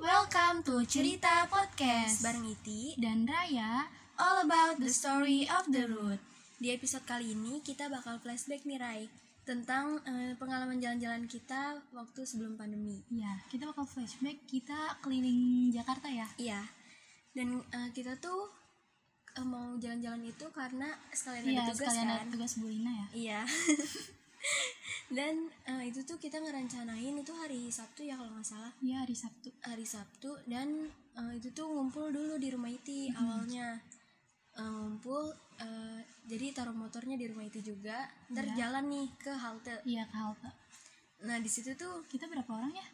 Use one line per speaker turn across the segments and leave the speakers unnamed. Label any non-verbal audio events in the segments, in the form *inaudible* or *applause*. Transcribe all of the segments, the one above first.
Welcome to Cerita Podcast
bareng Iti.
dan Raya.
All about
The story of the road.
Di episode kali ini kita bakal flashback nih Rai tentang eh, pengalaman jalan-jalan kita waktu sebelum pandemi.
Ya, kita bakal flashback kita keliling Jakarta ya.
Iya. Dan eh, kita tuh eh, mau jalan-jalan itu karena sekalian
Iya,
ada tugas
sekalian
kan.
ada tugas Bu Lina ya.
Iya. *laughs* Dan eh, itu tuh kita ngerencanain itu hari Sabtu ya kalau nggak salah.
Iya, hari Sabtu.
hari Sabtu dan eh, itu tuh ngumpul dulu di rumah Iti awalnya Eh, ngumpul eh, jadi taruh motornya di rumah Iti juga ntar
Iya.
jalan nih ke halte
Iya, ke halte.
nah di situ tuh
Kita berapa orang ya?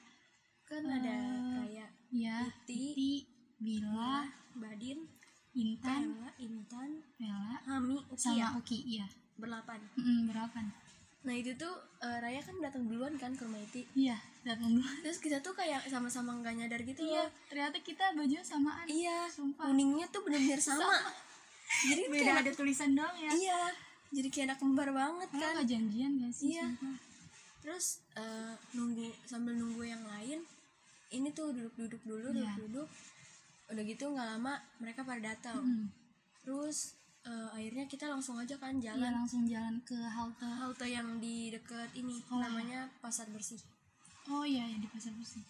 kan ada
Eh,
kayak
Iya,
Iti.
Iti, Bila,
Badin,
Intan,
Ella, Intan,
Bella,
Hami, Ucia
sama Uki, iya.
berlapan.
Mm, berapa? nih?
Nah itu tuh eh, Raya kan datang duluan kan ke rumah Iti.
Iya, datang dulu.
Terus kita tuh kayak sama-sama nggak nyadar gitu
Iya,
loh.
ternyata kita baju samaan.
Iya,
Sumpah.
kuningnya tuh bener-bener sama. Jadi
Beda
kayak
ada tulisan doang ya.
Iya, jadi kayak anak kembar banget
Karena
kan.
nggak janjian gak sih?
Iya.
sumpah?
Terus eh, nunggu sambil nunggu yang lain, ini tuh duduk-duduk dulu,
Iya.
duduk-duduk. Udah gitu nggak lama mereka pada datang.
Mm.
Terus eh, akhirnya kita langsung aja kan
Iya,
jalan
langsung jalan ke halte.
ke halte yang di dekat ini
Sekolah.
namanya Pasar Bersih.
Oh iya, ya, di pasar bersih.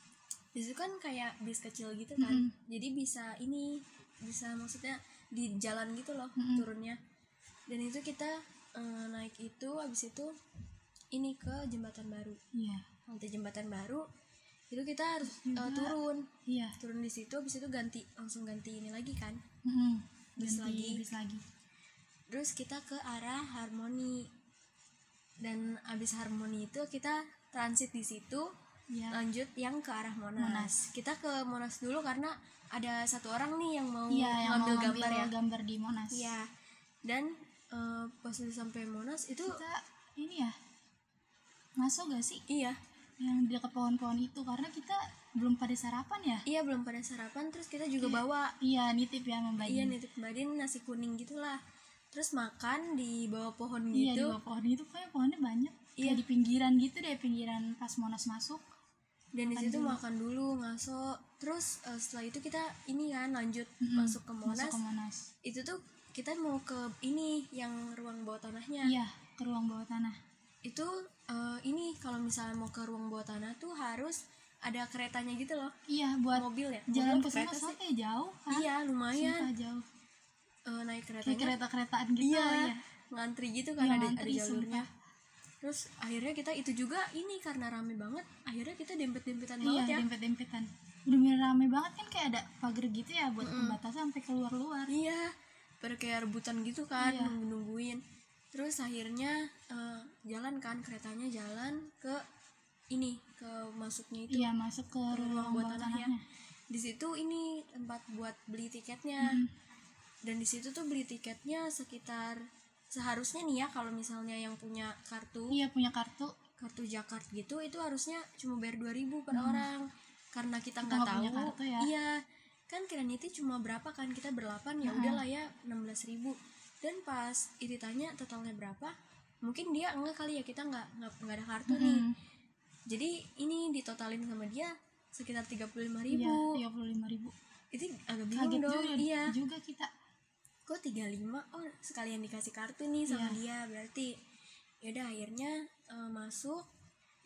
Di situ kan kayak bis kecil gitu kan.
Mm-mm.
Jadi bisa ini bisa maksudnya di jalan gitu loh
Mm-mm.
turunnya. Dan itu kita eh, naik itu habis itu ini ke jembatan baru.
Iya.
halte jembatan baru itu kita harus
juga-
eh, turun
Iya.
turun di situ habis itu ganti langsung ganti ini lagi kan
Mm-mm.
Bis
Ganti
lagi.
bis lagi.
terus kita ke arah harmoni dan abis harmoni itu kita transit di situ
Iya.
lanjut yang ke arah monas.
Monas.
kita ke monas dulu karena ada satu orang nih yang mau
Iya, yang
ngambil
mau
gambar ya
gambar di Monas.
iya dan eh, pas udah sampai monas itu
Kita ini ya masuk gak sih
iya
yang di dekat pohon-pohon itu karena kita belum pada sarapan ya?
iya belum pada sarapan terus kita juga
Iya.
bawa
Iya, nitip ya
Iya
membagi.
nitip badin nasi kuning gitulah. Terus makan di bawah pohon
Iya, di
gitu.
bawah pohon itu kayak pohonnya banyak.
Iya.
Iya, di pinggiran gitu deh, pinggiran pas Monas masuk.
Dan di
makan
situ
dulu.
makan dulu ngaso. Terus eh, setelah itu kita ini kan lanjut
Mm-mm.
masuk ke Monas.
Hmm, Masuk ke Monas.
Itu tuh kita mau ke ini yang ruang bawah tanahnya.
Iya, ke ruang bawah tanah.
Itu eh, ini kalau misalnya mau ke ruang bawah tanah tuh harus ada keretanya gitu loh.
Iya, buat
Mobil ya.
jalan ke
Mobil
sana
kereta
soalnya
sih.
kayak jauh kan?
Iya, lumayan
Sumpah jauh.
Eh, naik
Kayak
keretanya.
kereta-keretaan gitu
Iya,
ya.
ngantri gitu
Iya,
kan ada, ada
ngantri,
jalurnya.
sumpah.
Terus akhirnya kita itu juga ini karena rame banget, akhirnya kita dempet-dempetan
Iya,
banget ya.
dempet-dempetan. Udah bener rame banget kan kayak ada pagar gitu ya buat pembatasan sampai keluar-luar.
Iya, pada kayak rebutan gitu kan,
Iya.
nunggu-nungguin. Terus akhirnya eh, jalan kan keretanya jalan ke ini ke masuknya itu
Iya, masuk ke
ke
ruang bawah tanahnya.
Di situ ini tempat buat beli tiketnya.
Mm.
Dan di situ tuh beli tiketnya sekitar seharusnya nih ya kalau misalnya yang punya kartu
Iya, punya kartu.
kartu Jakarta gitu itu harusnya cuma bayar 2000 per orang karena kita
Kita
nggak
nggak
tahu
Hmm. punya kartu ya.
iya kan kiranya itu cuma berapa kan kita berlapan
Hmm.
ya udahlah ya 16.000 dan pas itu tanya totalnya berapa mungkin dia enggak kali ya kita nggak nggak nggak ada kartu nih
Mm.
jadi ini ditotalin sama dia sekitar 35.000
Iya,
ribu
35.000.
itu agak bingung
Kaget
dong
juga,
iya
juga kita.
kok 35 oh sekalian dikasih kartu
Iya.
nih sama dia berarti yaudah akhirnya eh, masuk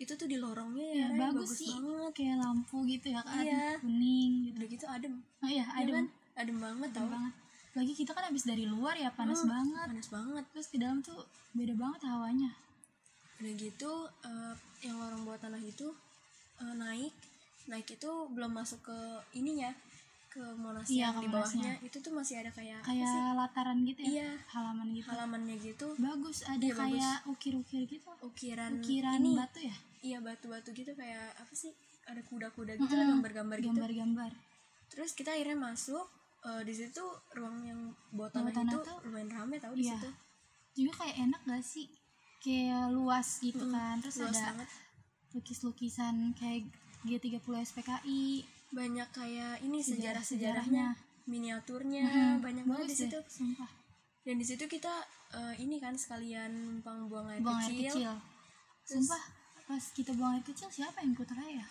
itu tuh di lorongnya ya,
Ya,
Ray,
bagus, sih.
banget
Kayak lampu gitu ya kan,
Iya.
kuning gitu.
udah gitu adem
Oh iya,
adem
adem.
kan? adem banget
Adem
tau
banget. Lagi kita kan habis dari luar ya, panas
Hmm,
banget.
panas banget
Terus di dalam tuh beda banget hawanya.
udah gitu eh, yang lorong bawah tanah itu eh, naik naik itu belum masuk ke ininya ke monas
Iya,
yang
ke
di bawahnya
Monasnya.
itu tuh masih ada kayak apa
Kayak
sih?
lataran gitu ya.
Iya.
Halaman gitu.
halamannya gitu
Bagus, ada
Iya, bagus.
kayak ukir-ukir gitu.
ukiran,
Ukiran
ini
batu ya?
iya batu-batu gitu kayak apa sih ada kuda-kuda gitu
Mm-mm.
ada gambar-gambar gitu
Gambar-gambar.
terus kita akhirnya masuk eh, di situ ruang yang buat
Bawah tanah
tanah itu
tuh-
lumayan rame tau di
Iya.
situ
Juga kayak enak gak sih? Kayak luas gitu
Mm-mm.
kan. Terus
luas
ada
banget
lukis-lukisan kayak G30 SPKI.
banyak kayak ini sejarah
Sejarah-
sejarahnya miniaturnya
Mm-mm.
Iya, banyak banget
Bagus
di situ
deh, sumpah.
dan di situ kita eh, ini kan sekalian numpang buang air
Buang air
kecil,
kecil.
Terus-
Sumpah pas kita buang air kecil siapa yang ikut raya?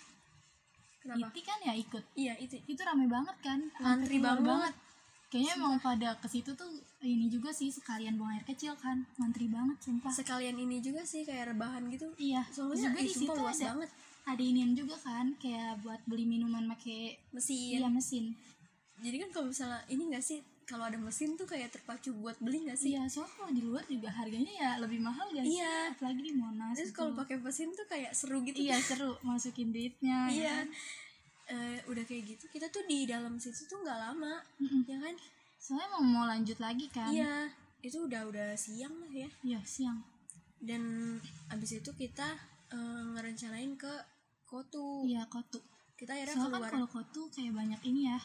Kenapa?
Iti kan ya ikut
Iya itu.
itu rame banget kan
Antri
keluar
banget.
kayaknya emang pada ke situ tuh ini juga sih sekalian buang air kecil kan ngantri banget sumpah
Sekalian ini juga sih kayak rebahan gitu.
iya
Soalnya
juga
ih,
di situ
sumpah luas
ada
banget.
ada inian juga kan kayak buat beli minuman pakai
Mesin.
iya mesin
Jadi kan kalau misalnya ini enggak sih kalau ada mesin tuh kayak terpacu buat beli enggak sih?
iya soalnya kalau di luar juga harganya ya lebih mahal gak sih
Iya.
apalagi di monas
Terus
gitu.
kalau pakai mesin tuh kayak seru gitu.
iya seru masukin duitnya ya
Iya.
kan?
Eh, udah kayak gitu kita tuh di dalam situ tuh nggak lama,
Mm-mm.
ya kan?
soalnya emang mau lanjut lagi kan
Iya. Itu udah udah siang lah ya.
Iya, siang
Dan abis itu kita eh, ngerencanain ke Kotu.
iya kotu
Kita akhirnya
soalnya
keluar
kan kalau kotu kayak banyak ini ya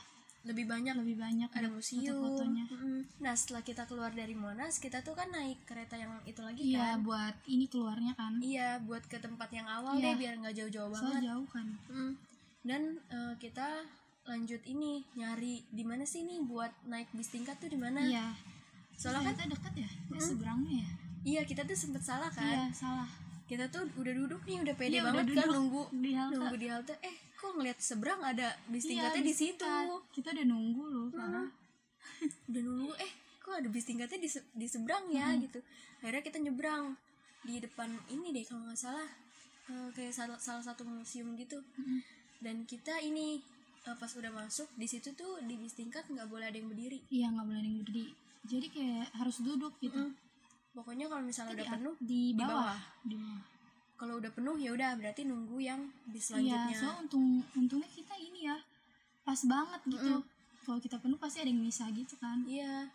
lebih banyak
lebih banyak
ada
buat
museum.
foto-fotonya
Mm-mm. Nah setelah kita keluar dari Monas kita tuh kan naik kereta yang itu lagi
Iya
kan?
buat ini keluarnya kan
Iya buat ke tempat yang awal
Iya.
deh biar nggak jauh-jauh
Soalnya
banget.
jauh kan
Mm. Dan eh, kita lanjut ini nyari di mana sih nih buat naik bis tingkat tuh di mana?
Iya
Soalnya kan
Ternyata dekat ya Kayak seberangnya ya
iya kita tuh sempet salah
Iya
kan?
salah
Kita tuh udah duduk nih udah pede
Iya, udah
banget kan
duduk
nunggu
di halte.
nunggu di halte. Eh kok ngeliat seberang ada bis
Iya,
tingkatnya di situ? Hmm.
dekat. Kita udah nunggu loh parah
udah nunggu eh kok ada bis tingkatnya di, se- di seberang ya gitu akhirnya kita nyebrang di depan ini deh kalau nggak salah Eh, kayak salah, salah satu museum gitu
Mm-mm.
dan kita ini eh, pas udah masuk di situ tuh di bis tingkat nggak boleh ada yang berdiri
Iya nggak boleh nunggu berdiri Jadi kayak harus duduk gitu
Mm. pokoknya kalau misalnya udah penuh
Di
di
bawah
bawah. Hmm,
Di bawah
kalau udah penuh ya udah berarti nunggu yang bis
Iya
selanjutnya
so untung untungnya kita ini ya Pas banget gitu
Hmm.
Kalau kita penuh pasti ada yang misah gitu kan
Iya.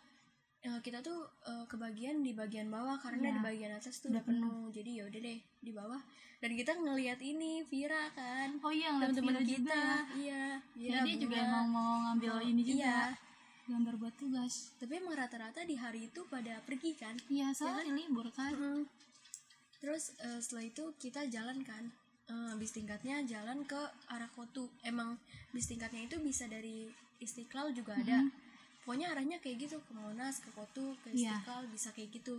Eh, kita tuh eh, kebagian di bagian bawah
Iya.
karena di bagian atas tuh
Udah
udah penuh. Jadi ya udah deh di bawah. Dan kita ngelihat ini Vira kan.
Oh iya ngeliat
Teman-teman
Vira
kita.
juga ya.
Iya.
Kayaknya dia juga
Bunga.
emang mau ngambil ini juga
Iya.
Gambar buat tugas
Tapi emang rata-rata di hari itu pada pergi kan.
Iya soalnya libur kan
Mm. Terus eh, setelah itu kita jalan kan. Eh, bis tingkatnya jalan ke arah Kotu. Emang bis tingkatnya itu bisa dari Istiqlal juga ada. Pokoknya arahnya kayak gitu ke Monas, ke Kotu, ke
Mm-hmm. Iya.
Istiqlal bisa kayak gitu.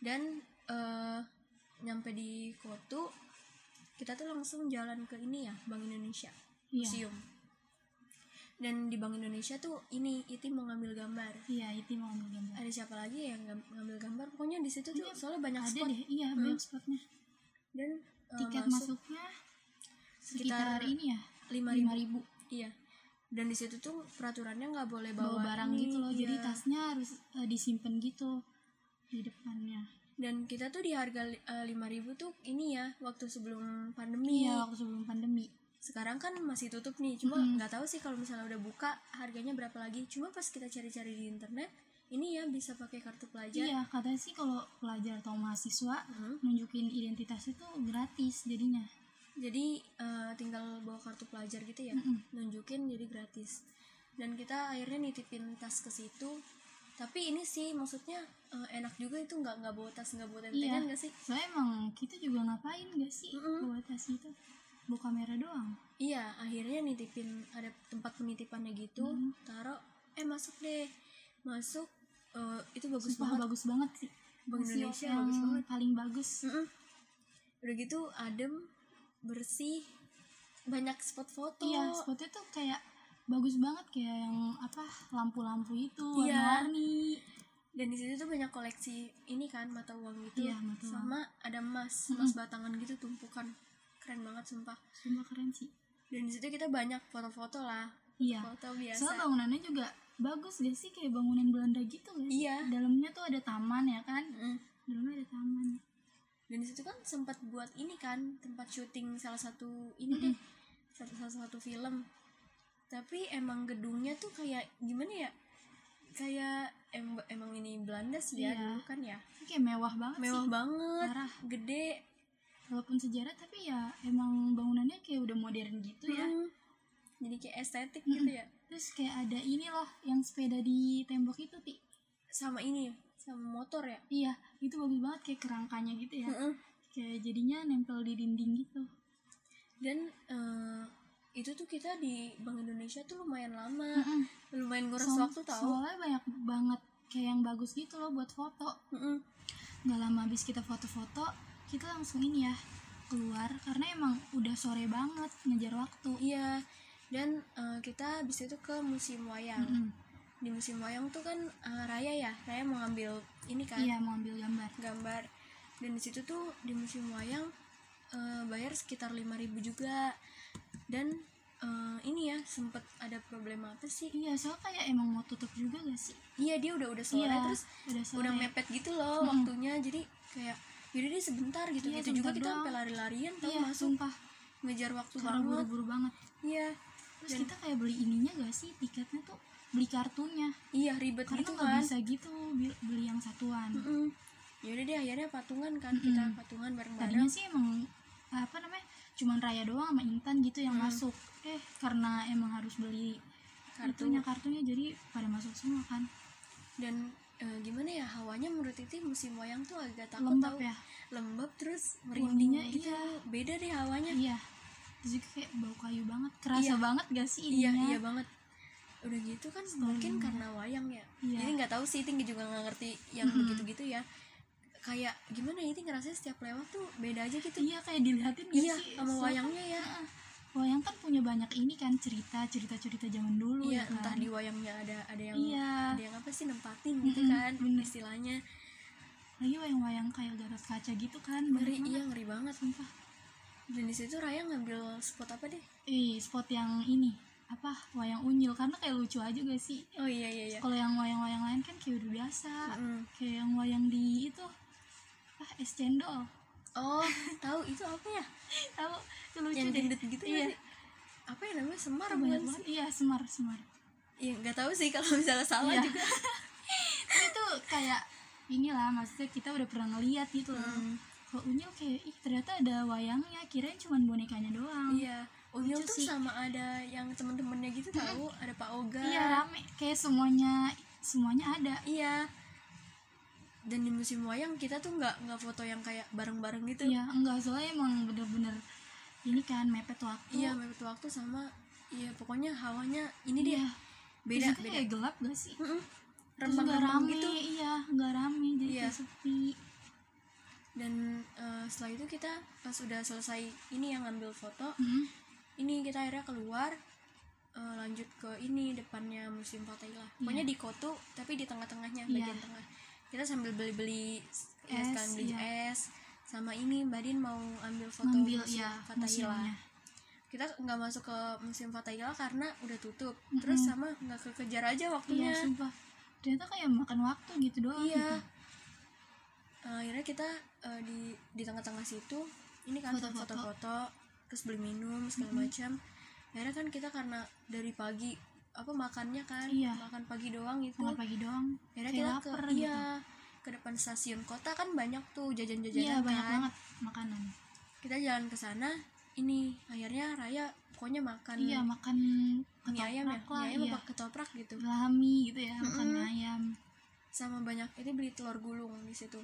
Dan eh, nyampe di Kotu kita tuh langsung jalan ke ini ya Bank Indonesia
Iya.
Museum. Dan di Bank Indonesia tuh ini Iti mau ngambil gambar
Iya itu mau ngambil gambar
ada siapa lagi yang gam- ngambil gambar pokoknya di situ tuh soalnya banyak
ada
spot
deh iya banyak spotnya
dan eh,
tiket
masuk
masuknya
sekitar
sekitar ini ya
lima
lima
ribu.
ribu
iya dan di situ tuh peraturannya nggak boleh bawa,
bawa barang
ini,
gitu loh
iya.
jadi tasnya harus eh, disimpan gitu di depannya
dan kita tuh di harga eh, lima ribu tuh ini ya waktu sebelum pandemi
iya waktu sebelum pandemi
sekarang kan masih tutup nih cuma nggak tahu sih kalau misalnya udah buka harganya berapa lagi cuma pas kita cari-cari di internet ini ya bisa pakai kartu pelajar
iya katanya sih kalau pelajar atau mahasiswa
Hmm.
nunjukin identitas itu gratis jadinya
jadi eh, tinggal bawa kartu pelajar gitu ya nunjukin jadi gratis dan kita akhirnya nitipin tas ke situ tapi ini sih maksudnya eh, enak juga itu nggak nggak bawa tas nggak
Iya.
bawa tentengan nggak sih
soalnya emang kita juga ngapain gak sih
Mm-mm.
bawa tas itu bawa kamera doang
iya akhirnya nitipin ada tempat penitipannya gitu taruh eh masuk deh masuk eh, itu bagus
Sumpah
banget
bagus banget sih
Bank
Museum
Indonesia
yang
bagus banget. Hmm.
paling bagus
Mm-mm. udah gitu adem bersih banyak spot foto
Iya, spotnya tuh kayak bagus banget kayak yang apa lampu-lampu itu
Iya.
warna-warni.
dan di situ tuh banyak koleksi ini kan mata uang gitu
Iya, mata uang.
sama ada emas emas batangan gitu tumpukan keren banget sumpah
Sumpah keren sih.
dan di situ kita banyak foto-foto lah
Iya.
foto biasa
Soalnya bangunannya juga bagus gak sih kayak bangunan Belanda gitu kan?
Iya.
Dalamnya tuh ada taman ya kan?
Mm.
Dalamnya ada taman.
dan di situ kan sempat buat ini kan tempat syuting salah satu ini deh satu salah satu film tapi emang gedungnya tuh kayak gimana ya kayak em- emang ini Belanda sih ya
Iya.
dulu kan ya
Itu kayak mewah banget
mewah
sih.
banget
Parah.
gede
Walaupun sejarah tapi ya emang bangunannya kayak udah modern gitu ya.
Mm. jadi kayak estetik gitu ya
Terus kayak ada ini loh yang sepeda di tembok itu, Ti.
sama ini sama motor ya
Iya, itu bagus banget kayak kerangkanya gitu ya.
Mm-mm.
Kayak jadinya nempel di dinding gitu.
dan eh, itu tuh kita di Bank Indonesia tuh lumayan lama
Mm-mm.
lumayan ngurus
Soal-
waktu tau
Soalnya banyak banget kayak yang bagus gitu loh buat foto.
Mm-mm.
Gak lama habis kita foto-foto, kita langsung ini ya keluar karena emang udah sore banget ngejar waktu
iya dan eh, kita habis itu ke museum wayang
Mm-mm.
di museum wayang tuh kan eh, Raya ya Raya mau ngambil ini kan
iya mau ambil gambar
gambar dan di situ tuh di museum wayang eh, bayar sekitar 5000 juga dan eh, ini ya sempet ada problem apa sih
iya soalnya kayak emang mau tutup juga gak sih
iya dia udah udah sore
iya
terus
udah sore
udah mepet gitu loh
Mm-mm.
waktunya jadi kayak yaudah deh sebentar gitu
Iya,
gitu juga
sebentar
kita
doang.
sampai lari-larian tau
iya
masuk
sumpah
ngejar waktu
karena
banget
buru-buru banget
iya
terus
Dan-
kita kayak beli ininya gak sih tiketnya tuh beli kartunya
iya ribet
karena
gitu
nggak
kan
bisa gitu bi- beli yang satuan
Mm-mm. yaudah deh akhirnya patungan kan kita
Mm-mm.
patungan bareng-bareng
tadinya sih emang apa namanya cuman Raya doang sama Intan gitu yang
Hmm.
masuk eh karena emang harus beli
kartu
kartunya kartunya jadi pada masuk semua kan
dan eh, gimana ya hawanya menurut itu musim wayang tuh agak takut
lembab
tau.
ya
lembab terus
Wanginya,
merindingnya gitu
iya.
beda deh hawanya
iya terus juga kayak bau kayu banget kerasa
Iya.
banget gak sih
iya
ininya?
iya banget udah gitu kan mungkin karena wayang ya
Iya.
jadi nggak tahu sih tinggi juga nggak ngerti yang
Mm-mm.
begitu gitu ya kayak gimana ya Ting ngerasa setiap lewat tuh beda aja gitu
iya kayak dilihatin gak
iya
sih
sama
Soalnya
wayangnya ya
kan, wayang kan punya banyak ini kan cerita cerita cerita zaman dulu
iya
ya kan?
entah di wayangnya ada ada yang
iya
ada yang apa sih nempatin gitu
Mm-mm,
kan
bener.
istilahnya
lagi wayang-wayang kayak gatot kaca gitu kan
ngeri
banyak
iya
banget.
ngeri banget
sumpah
dan di situ Raya ngambil spot apa deh
eh spot yang ini apa wayang unyil karena kayak lucu aja gak sih
oh iya iya iya
kalau yang wayang-wayang lain kan kayak udah biasa
Mm-mm.
kayak yang wayang di itu ah es cendol *laughs*
oh tahu itu apa ya
tahu itu lucu
yang
deh
gendut gitu
iya
ya apa yang namanya semar
itu
bukan
banyak
sih
banget iya semar semar
ya nggak tahu sih kalau misalnya salah
Iya.
juga
*laughs* Tapi itu kayak inilah maksudnya kita udah pernah ngeliat gitu loh
Hmm.
kalau unyil kayak ih ternyata ada wayangnya kirain cuman bonekanya doang
iya Unyil
Lucu
tuh
sih.
sama ada yang temen-temennya gitu tahu ada Pak Oga
iya rame kayak semuanya semuanya ada
Iya. dan di musim wayang kita tuh nggak nggak foto yang kayak bareng-bareng gitu
iya enggak soalnya emang bener-bener ini kan mepet waktu
iya mepet waktu sama iya pokoknya hawanya ini
Iya.
dia beda
Terus juga
beda
kayak gelap gak sih
Mm-mm.
Terus nggak
rembang-rembang
rame
gitu
iya nggak rame jadi
Iya.
kayak sepi
dan eh, setelah itu kita pas udah selesai ini yang ngambil foto
Hmm.
ini kita akhirnya keluar eh, lanjut ke ini depannya musim Fatailah pokoknya di Koto tapi di
Iya.
tengah-tengahnya bagian tengah kita sambil beli-beli ya,
Es,
sekalian beli
iya.
es sama ini Mbak Din mau ambil foto
ngambil
musim
ya
Fatailah
museumnya.
kita nggak masuk ke musim Fatailah karena udah tutup
Mm-mm.
terus sama nggak kekejar
iya
aja waktunya
sumpah ternyata kayak makan waktu gitu doang
Iya.
gitu.
Eh, akhirnya kita eh, di di tengah-tengah situ ini kan
Foto-foto.
foto-foto terus beli minum segala macam akhirnya kan kita karena dari pagi apa makannya kan
Iya.
makan pagi doang gitu
makan pagi doang
akhirnya
kayak
kita ke
lapar gitu
iya, ke depan stasiun kota kan banyak tuh
iya
jajan-jajanan kan
banyak banget makanan
kita jalan ke sana ini akhirnya Raya pokoknya makan
iya makan
mie ayam ya
ketoprak lah
mie ayam
iya
apa ketoprak gitu
Lami gitu ya makan
Mm-mm.
ayam
sama banyak ini beli telur gulung di situ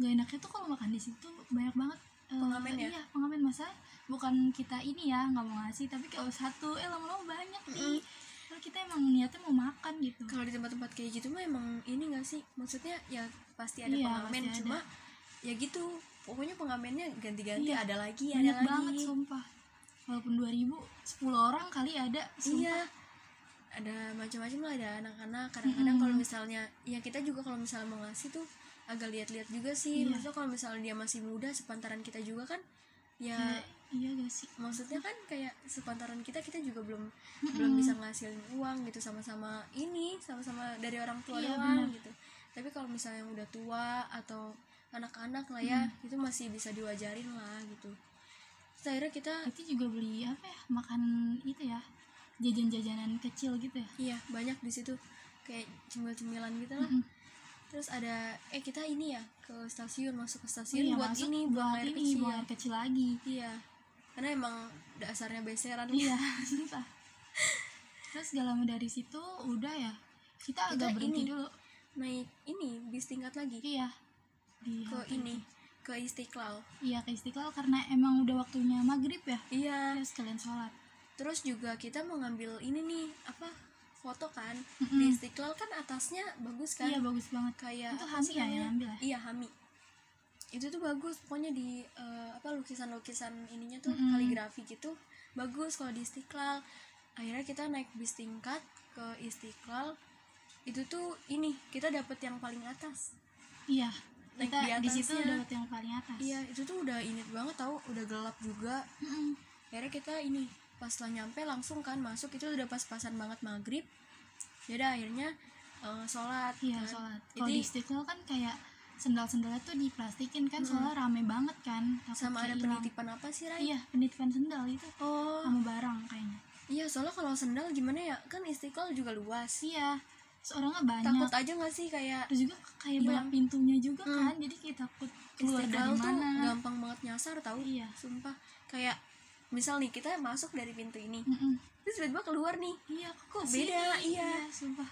gak enaknya tuh kalau makan di situ banyak banget eh,
Pengamen ya?
iya pengamen masa bukan kita ini ya nggak mau ngasih tapi kalau satu eh lama-lama banyak nih Padahal kita emang niatnya mau makan gitu
kalau di tempat-tempat kayak gitu mah emang ini gak sih maksudnya ya pasti ada
Iya,
pengamen
pasti ada.
cuma ya gitu pokoknya pengamennya ganti-ganti
Iya,
ada lagi
banyak
ada
banget
lagi
sumpah walaupun 2000 10 orang kali ada sumpah.
iya ada macam-macam lah ada anak-anak kadang-kadang
Mm-mm.
kalau misalnya ya kita juga kalau misalnya mau ngasih tuh agak lihat-lihat juga sih
Iya.
maksudnya kalau misalnya dia masih muda sepantaran kita juga kan ya
Kayak, iya gak sih
maksudnya kan kayak sepantaran kita kita juga belum belum bisa ngasilin uang gitu sama-sama ini sama-sama dari orang tua
Iya,
doang
benar.
gitu tapi kalau misalnya yang udah tua atau anak-anak lah ya itu masih bisa diwajarin lah gitu Terus akhirnya kita
itu juga beli apa ya makan itu ya jajan-jajanan kecil gitu ya
iya banyak di situ kayak cemil-cemilan gitu lah
Mm-mm.
terus ada eh kita ini ya ke stasiun masuk ke
Iya,
stasiun buat
masuk
ini buang air
ini
kecil
buang air kecil ya. lagi
iya karena emang dasarnya beseran
*laughs*
*laughs*
iya sumpah terus gak lama dari situ udah ya kita
Kita
agak berhenti
ini.
dulu
naik ini bis tingkat lagi
iya di
ke ini ke istiqlal
iya ke istiqlal karena emang udah waktunya maghrib ya
iya
terus kalian sholat
terus juga kita mau ngambil ini nih apa foto kan di
Mm-mm.
istiqlal kan atasnya bagus kan
iya bagus banget
kayak
itu
apa
Hami
sih
ya yang
namanya?
ambil ya
iya hami itu tuh bagus pokoknya di eh, apa lukisan-lukisan ininya tuh
Mm-mm.
kaligrafi gitu bagus kalau di Istiqlal akhirnya kita naik bis tingkat ke Istiqlal itu tuh ini kita dapet yang paling atas
iya
Naik
kita di,
di
situ
atasnya.
dapat yang paling atas
iya itu tuh udah ini banget tau udah gelap juga
Mm-mm.
akhirnya kita ini pas lah nyampe langsung kan masuk itu udah pas-pasan banget maghrib jadi akhirnya eh, sholat
iya
kan.
sholat kalau
jadi
di istiqlal kan kayak sendal-sendalnya tuh diplastikin kan
Mm-mm.
soalnya rame banget kan takut
sama ada
hilang.
penitipan apa sih Rai?
iya penitipan sendal itu
oh
sama barang kayaknya
iya soalnya kalau sendal gimana ya kan istiqlal juga luas
iya seorangnya banyak
takut aja gak sih kayak
terus juga kayak
Hilang.
banyak pintunya juga
Iya. Hmm.
kan jadi kayak takut keluar
istiqlal
dari
tuh
mana
gampang banget nyasar tau
Iya.
sumpah kayak misal nih kita masuk dari pintu ini
Mm-mm.
terus tiba-tiba keluar nih
iya kok
Beda, iya.
sumpah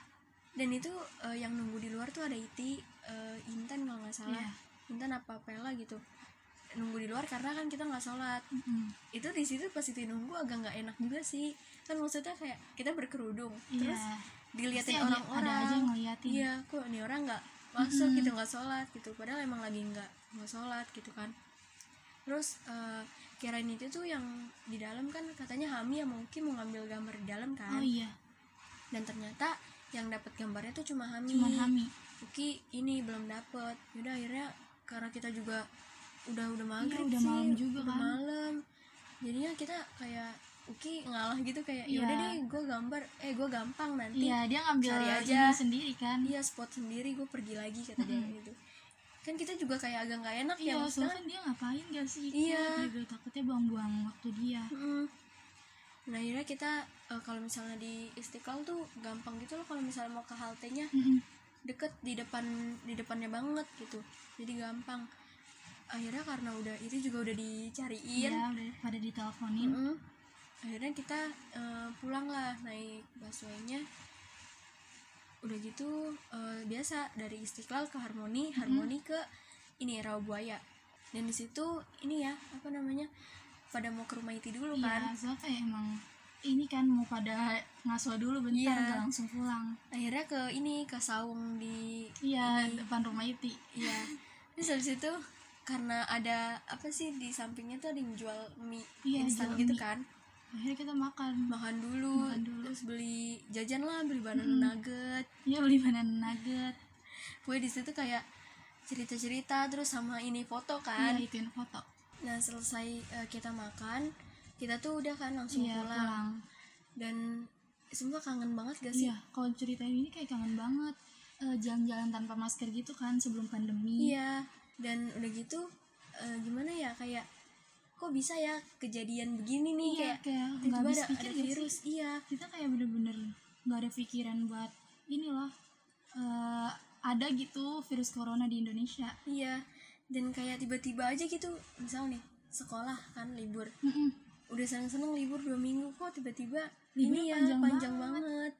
dan itu eh, yang nunggu di luar tuh ada iti eh, intan kalau nggak salah
Iya.
intan apa pela gitu nunggu di luar karena kan kita nggak sholat
Mm-mm. Iya.
itu di situ pas itu nunggu agak nggak enak juga sih kan maksudnya kayak kita berkerudung
iya
terus diliatin
Pasti ada- ada
orang-orang
aja yang ngeliatin
iya kok ini orang nggak masuk
Mm-mm.
gitu nggak sholat gitu padahal emang lagi nggak nggak sholat gitu kan terus eh, kirain itu tuh yang di dalam kan katanya Hami yang mungkin mau ngambil gambar di dalam kan
oh iya
dan ternyata yang dapat gambarnya tuh cuma Hami
cuman Hami
Uki ini belum dapet yaudah akhirnya karena kita juga udah udah maghrib
Iya, udah
sih,
malam juga
udah
kan.
malam jadinya kita kayak Uki ngalah gitu kayak
Iya.
yaudah deh gue gambar eh gue gampang nanti
iya dia ngambil
cari
ini
aja.
sendiri kan
dia spot sendiri gue pergi lagi kata dia gitu kan kita juga kayak agak nggak enak ya
iya
maksudnya
soalnya kan dia ngapain gak sih
Iya.
dia juga takutnya buang-buang waktu dia
Mm. nah akhirnya kita eh, kalau misalnya di Istiqlal tuh gampang gitu loh kalau misalnya mau ke haltenya
Mm-mm.
deket di depan di depannya banget gitu jadi gampang akhirnya karena udah itu juga udah dicariin
iya udah pada diteleponin
Mm-mm. akhirnya kita eh, pulang lah naik busway-nya udah gitu eh, biasa dari istiqlal ke harmoni harmoni ke ini rawa buaya dan di situ ini ya apa namanya pada mau ke rumah itu dulu
iya
kan
soalnya kayak emang ini kan mau pada ngaso dulu bentar
Iya.
nggak langsung pulang
akhirnya ke ini ke saung di
iya depan rumah Iti
Iya. Terus habis itu karena ada apa sih di sampingnya tuh ada yang jual mie
Iya,
instan
jual
gitu
mie.
kan.
akhirnya kita makan
Makan dulu,
Makan dulu.
terus beli jajan lah, beli banana nugget.
iya beli banana nugget
Pokoknya di situ kayak cerita-cerita terus sama ini foto
iya
kan.
ituin foto
Nah, selesai eh, kita makan, kita tuh udah kan langsung
iya
pulang.
pulang
Dan semua kangen banget gak sih?
iya kalau ceritain ini kayak kangen banget Eh, jalan-jalan tanpa masker gitu kan sebelum pandemi
Iya, dan udah gitu eh, gimana ya kayak kok bisa ya kejadian begini nih
Iya,
kayak
kayak nggak
tiba-tiba
habis
ada,
pikir
ada
nggak sih?
virus iya
kita kayak bener-bener nggak ada pikiran buat ini loh eh, ada gitu virus corona di Indonesia
iya dan kayak tiba-tiba aja gitu misal nih sekolah kan libur
Mm-mm.
udah seneng-seneng libur dua minggu kok tiba-tiba
Liburnya
ini ya
panjang
panjang, banget,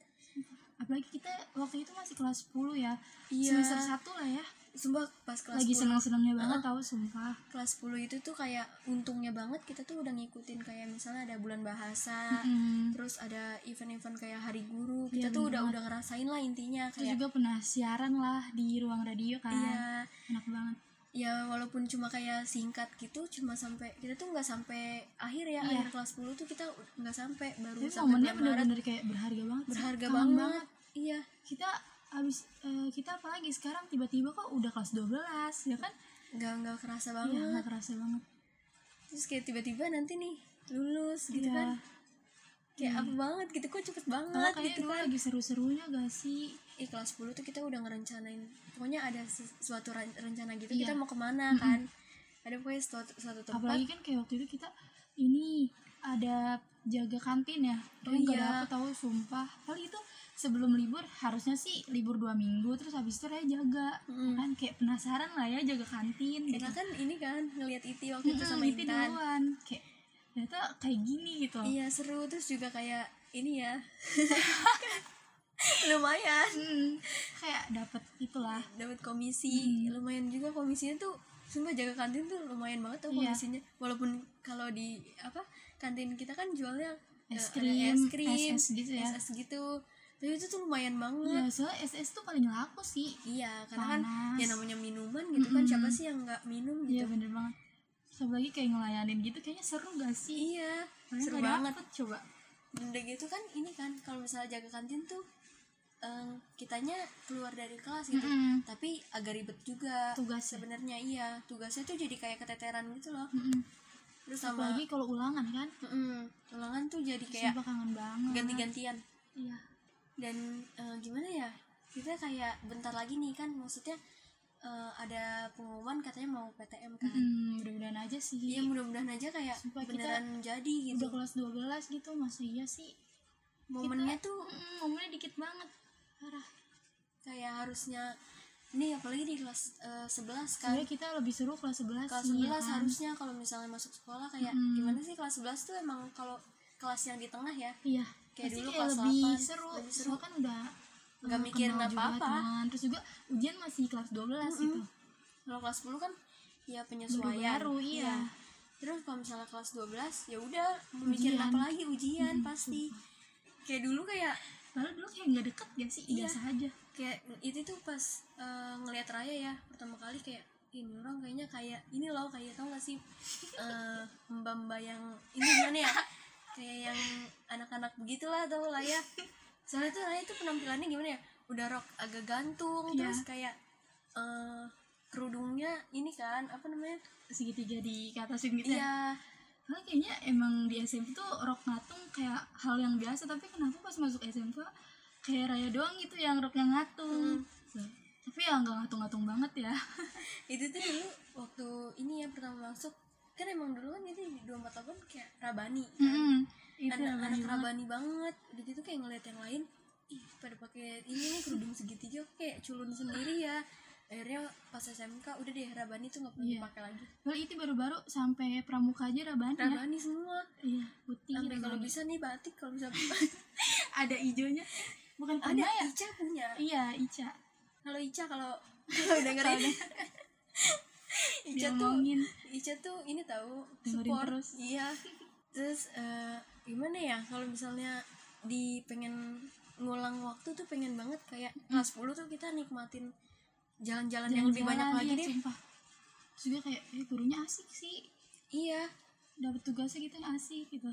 apalagi kita waktu itu masih kelas 10 ya
Iya.
semester 1 lah ya
sumpah pas kelas
lagi
10
senang-senangnya banget tahu sumpah
kelas 10 itu tuh kayak untungnya banget kita tuh udah ngikutin kayak misalnya ada bulan bahasa
Mm-mm.
terus ada event-event kayak hari guru kita
Iya,
tuh
bener
udah
banget.
udah ngerasain lah intinya
terus
kayak
juga kan? pernah siaran lah di ruang radio kan
iya
enak banget
ya walaupun cuma kayak singkat gitu cuma sampai kita tuh nggak sampai akhir ya
Iya.
akhir kelas 10 tuh kita nggak sampai baru
tapi
sampai
momennya
bulan Maret
bener-bener kayak berharga banget sih.
berharga
Kangen
banget. iya
kita abis eh, kita apalagi sekarang tiba-tiba kok udah kelas 12 ya kan
nggak nggak kerasa
iya
banget
nggak kerasa banget
terus kayak tiba-tiba nanti nih lulus gitu
Iya.
kan kayak apa banget gitu kok cepet
Malah
banget
kayak
gitu
dulu
kan
lagi seru-serunya gak sih
Ih, kelas 10 tuh kita udah ngerencanain pokoknya ada sesuatu ren- rencana gitu
Iya.
kita mau kemana kan ada pokoknya suatu, suatu tempat
apalagi kan kayak waktu itu kita ini ada jaga kantin ya
Oh
tapi nggak
iya.
dapet tahu sumpah paling itu sebelum libur harusnya sih libur dua minggu terus habis itu Raya jaga
Mm.
kan kayak penasaran lah ya jaga kantin gitu.
karena kan ini kan ngelihat Iti waktu itu
Mm-mm,
sama
Iti
Intan
duluan kayak ternyata kayak gini gitu
Iya seru terus juga kayak ini ya *laughs* lumayan
Mm, kayak dapet itulah
dapat komisi
Hmm.
lumayan juga komisinya tuh sumpah jaga kantin tuh lumayan banget tuh
Iya.
komisinya walaupun kalau di apa kantin kita kan jualnya eh,
Es
ada
krim,
es krim
SS gitu ya. Iya.
SS gitu tapi itu tuh lumayan banget
ya soalnya SS tuh paling laku sih
iya karena kan
Panas.
ya namanya minuman gitu kan siapa siapa sih yang nggak minum
Iya
gitu
bener banget. Terus apa lagi kayak ngelayanin gitu kayaknya seru gak sih?
iya
Padahal
seru
nggak
banget
dapet, coba.
Dan udah gitu kan ini kan kalau misalnya jaga kantin tuh eh, kitanya keluar dari kelas gitu
Mm-mm.
tapi agak ribet juga
Tugasnya.
sebenarnya iya tugasnya tuh jadi kayak keteteran gitu loh
Mm-mm.
terus sama
Apalagi kalau ulangan kan.
Mm-mm. ulangan tuh jadi kayak
Sumpah kangen banget.
ganti-gantian
Iya.
dan eh, gimana ya kita kayak bentar lagi nih kan maksudnya eh, ada pengumuman katanya mau PTM kan
Mm, mudah-mudahan aja sih.
ya mudah-mudahan aja kayak
Sumpah, kita
beneran jadi gitu
Udah kelas 12 gitu masa iya sih.
momennya
Kita-
tuh
Mm, momennya dikit banget. Parah.
kayak harusnya nih apalagi di kelas eh, 11 kan
Sebenarnya kita lebih seru kelas 11
kelas
sih,
11
ya kan?
harusnya kalau misalnya masuk sekolah kayak
Mm-mm.
gimana sih kelas 11 tuh emang kalau kelas yang di tengah ya
Iya.
Kayak
Pasti
dulu
kayak
kelas
lebih
8,
seru.
lebih seru.
Soalnya kan udah
Nggak
eh,
mikirin
kenal juga
apa-apa.
teman. Terus juga ujian masih kelas 12 gitu.
kalau kelas 10 kan ya penyesuaian
Baru-baru, iya.
terus kalau misalnya kelas 12 ya udah mau mikirin apa lagi ujian pasti kayak dulu kayak
Padahal dulu kayak nggak deket gak sih?
Iya.
Biasa aja.
kayak itu tuh pas eh, ngelihat Raya ya pertama kali kayak ini orang kayaknya kayak ini loh kayak tau gak sih eh mbak-mbak yang ini gimana ya kayak yang anak-anak begitulah tau lah ya soalnya tuh Raya tuh penampilannya gimana ya udah rok agak gantung
Iya.
terus kayak eh kerudungnya ini kan apa namanya
Segitiga di ke atas gitu ya.
iya
Karena kayaknya emang di SMP tuh rok ngatung kayak hal yang biasa tapi kenapa pas masuk SMP kayak Raya doang gitu yang roknya ngatung.
Hmm.
Tuh. Tapi ya nggak ngatung-ngatung banget
*laughs*
ya.
Iya. itu tuh dulu waktu ini ya pertama masuk kan emang dulu kan itu di 24 kayak Rabani kan?
Mm-mm. Itu
anak,
yang banyak
anak
banget.
rabani banget udah gitu kayak ngeliat yang lain ih pada pakai ini nih kerudung segitiga aku kayak culun sendiri ya akhirnya pas SMK udah deh rabani tuh nggak pernah
Iya.
dipakai lagi
Padahal itu baru-baru sampai pramuka aja Rabani ya.
rabani semua
Iya, putih
sampai
Rabani.
kalau gitu bisa nih batik kalau
*laughs*
bisa
ada ijonya. Bukan
ada
pernah ya?
Ica punya
Iya, Ica.
kalau Ica
*laughs*
kalau kalau dengerin Ica
Dia
tuh
ngomongin.
Ica tuh ini tahu
Dengerin
support
terus.
iya terus eh, gimana ya kalau misalnya di pengen ngulang waktu tuh pengen banget kayak kelas 10 tuh kita nikmatin jalan-jalan yang lebih banyak
Jalan-jalan,
lagi
iya,
deh
Sumpah. Terus juga kayak eh, gurunya asik sih.
iya
Dapat tugasnya gitu yang asik gitu.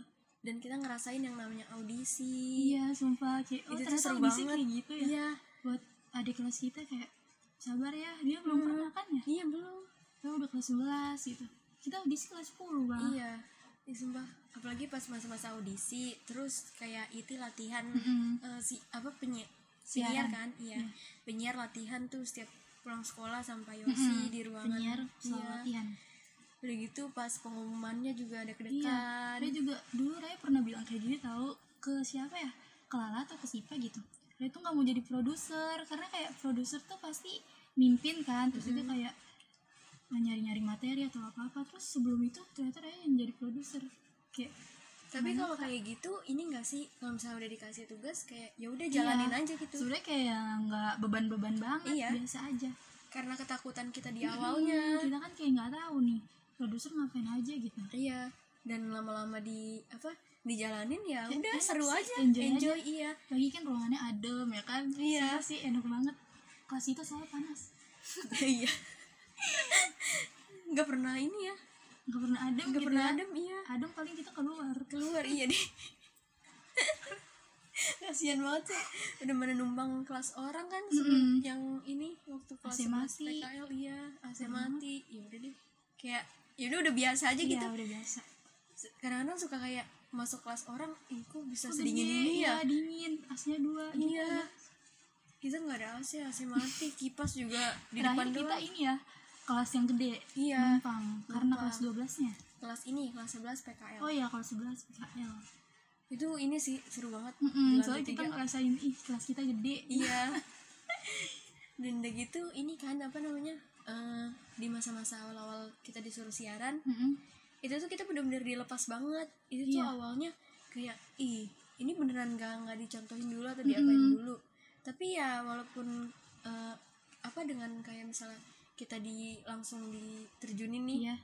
dan kita ngerasain yang namanya audisi
Iya, sumpah kayak oh,
Itu tuh
ternyata
seru
audisi
banget.
kayak gitu ya.
iya
Buat adik kelas kita kayak sabar ya, dia belum
Hmm.
pernah kan ya.
iya belum
Dia udah kelas 11 gitu. Kita audisi kelas 10, Bang.
iya Ih, sumpah apalagi pas masa-masa audisi terus kayak itu latihan
Mm-mm.
eh, si apa penyi penyiar
Siaran.
kan iya
Iya.
penyiar latihan tuh setiap pulang sekolah sampai Yosi
Mm-mm.
di ruangan
penyiar
Iya.
sama latihan.
udah gitu pas pengumumannya juga ada
Iya,
kedekan
Raya juga dulu Raya pernah bilang kayak gini tahu ke siapa ya? Ke Lala atau ke Sipa gitu. Raya tuh nggak mau jadi produser karena kayak produser tuh pasti mimpin kan, terus juga kayak nyari-nyari materi atau apa-apa. Terus sebelum itu ternyata Raya yang jadi produser. Kayak
tapi kalau kayak gitu ini enggak sih kalau misalnya udah dikasih tugas kayak ya udah jalanin
Iya.
aja gitu
sebenarnya kayak nggak beban-beban banget,
Iya.
biasa aja.
karena ketakutan kita di awalnya
kita kan kayak nggak tahu nih produser ngapain aja gitu.
iya dan lama-lama di apa dijalanin ya
Kayak
udah
enak
seru
sih,
aja
enjoy
enjoy,
aja.
iya
Lagi kan ruangannya adem ya kan?
Iya.
Sumpah sih enak banget. Kelas itu saya panas.
iya nggak pernah ini ya
nggak pernah adem
nggak
gitu
pernah
ya.
adem iya
adem paling kita keluar
keluar iya deh kasihan banget sih udah mana numpang kelas orang kan sebelum yang ini waktu kelas
AC
11
mati.
PKL iya AC mati ya udah deh kayak ya udah udah biasa aja
Iya,
gitu
udah biasa
Se- kadang-kadang suka kayak masuk kelas orang ih kok
Kok
bisa sedingin
gede?
ini ya
Iya, dingin asnya dua gitu
iya
ya.
kita nggak ada AC AC
*laughs*
mati kipas juga di
terakhir
depan
kita
doang
ini ya kelas yang gede
Iya.
numpang karena
Numpang.
kelas 12 nya
kelas ini kelas 11 PKL
oh iya kelas 11 PKL
itu ini sih seru banget
Mm-mm,
Gila,
soalnya
bertiga.
kita ngerasain ih kelas kita gede
*laughs*
*laughs*
iya dan udah gitu ini kan apa namanya eh, di masa-masa awal-awal kita disuruh siaran
Mm-mm.
itu tuh kita bener-bener dilepas banget itu tuh
Iya.
awalnya kayak ih ini beneran gak nggak dicontohin dulu atau diapain dulu tapi ya walaupun eh, apa dengan kayak misalnya kita di langsung diterjunin nih
iya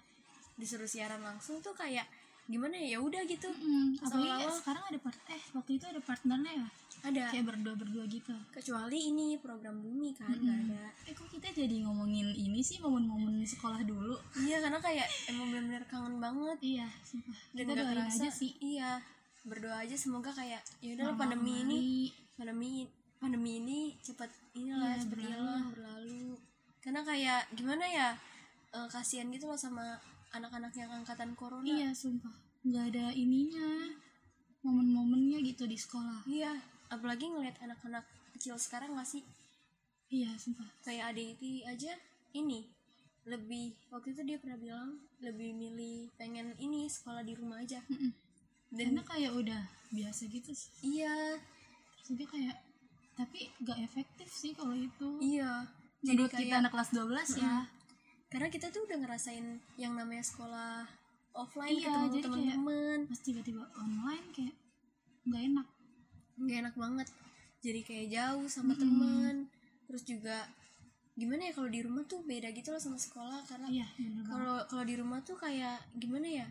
disuruh siaran langsung tuh kayak gimana ya ya udah gitu
Mm-mm. apalagi kayak
Seolah-olah-
sekarang ada part eh waktu itu ada partnernya ya
ada
kayak berdua berdua gitu
kecuali ini program bumi kan nggak ada
eh kok kita jadi ngomongin ini sih momen-momen sekolah dulu
iya karena kayak emang benar-benar kangen banget
iya sumpah
dan
kita
nggak
doain
kerasa
aja sih
iya berdoa aja semoga kayak ya udah lah,
Normal
pandemi ini
kembali.
pandemi pandemi ini cepat inilah
Iya,
cepet
berlalu.
hilang, berlalu karena kayak gimana ya eh, kasihan gitu loh sama anak-anak yang angkatan corona
iya sumpah nggak ada ininya momen-momennya gitu di sekolah
Iya, apalagi ngelihat anak-anak kecil sekarang masih
iya sumpah
kayak ADIT aja ini lebih waktu itu dia pernah bilang lebih milih pengen ini sekolah di rumah aja
Mm-mm.
dan
karena kayak udah biasa gitu sih.
iya
terus dia kayak tapi gak efektif sih kalau itu
iya jadi
menurut kita
kayak
anak kelas 12 ya
karena kita tuh udah ngerasain yang namanya sekolah offline
Iya,
ketemu
jadi
teman-teman
pas tiba-tiba online kayak nggak enak
nggak enak banget jadi kayak jauh sama teman terus juga gimana ya kalau di rumah tuh beda gitu loh sama sekolah karena
iya bener banget
kalau kalau di rumah tuh kayak gimana ya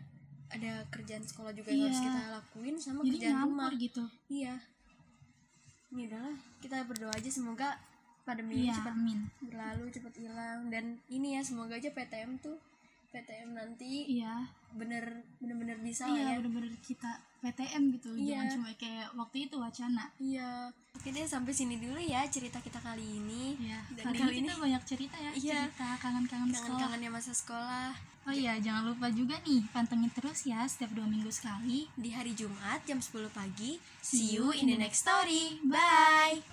ada kerjaan sekolah juga
Iya.
yang harus kita lakuin sama
jadi
kerjaan rumah
nyampur gitu
iya ini adalah kita berdoa aja semoga pandemi ini
iya
cepat
amin
berlalu cepat hilang dan ini ya semoga aja PTM tuh PTM nanti
iya
bener bener bener bisa lah
iya
ya
bener-bener kita PTM gitu jangan
Iya.
cuma kayak waktu itu wacana
iya oke deh sampai sini dulu ya cerita kita kali ini
Iya,
dan
kali,
kali
ini
ini
kita banyak cerita ya,
Iya.
cerita kangen-kangen sekolah.
kangen-kangennya masa sekolah
Oh iya, jangan lupa juga nih, pantengin terus ya setiap dua minggu sekali.
di hari Jumat jam 10 pagi see you in the next story bye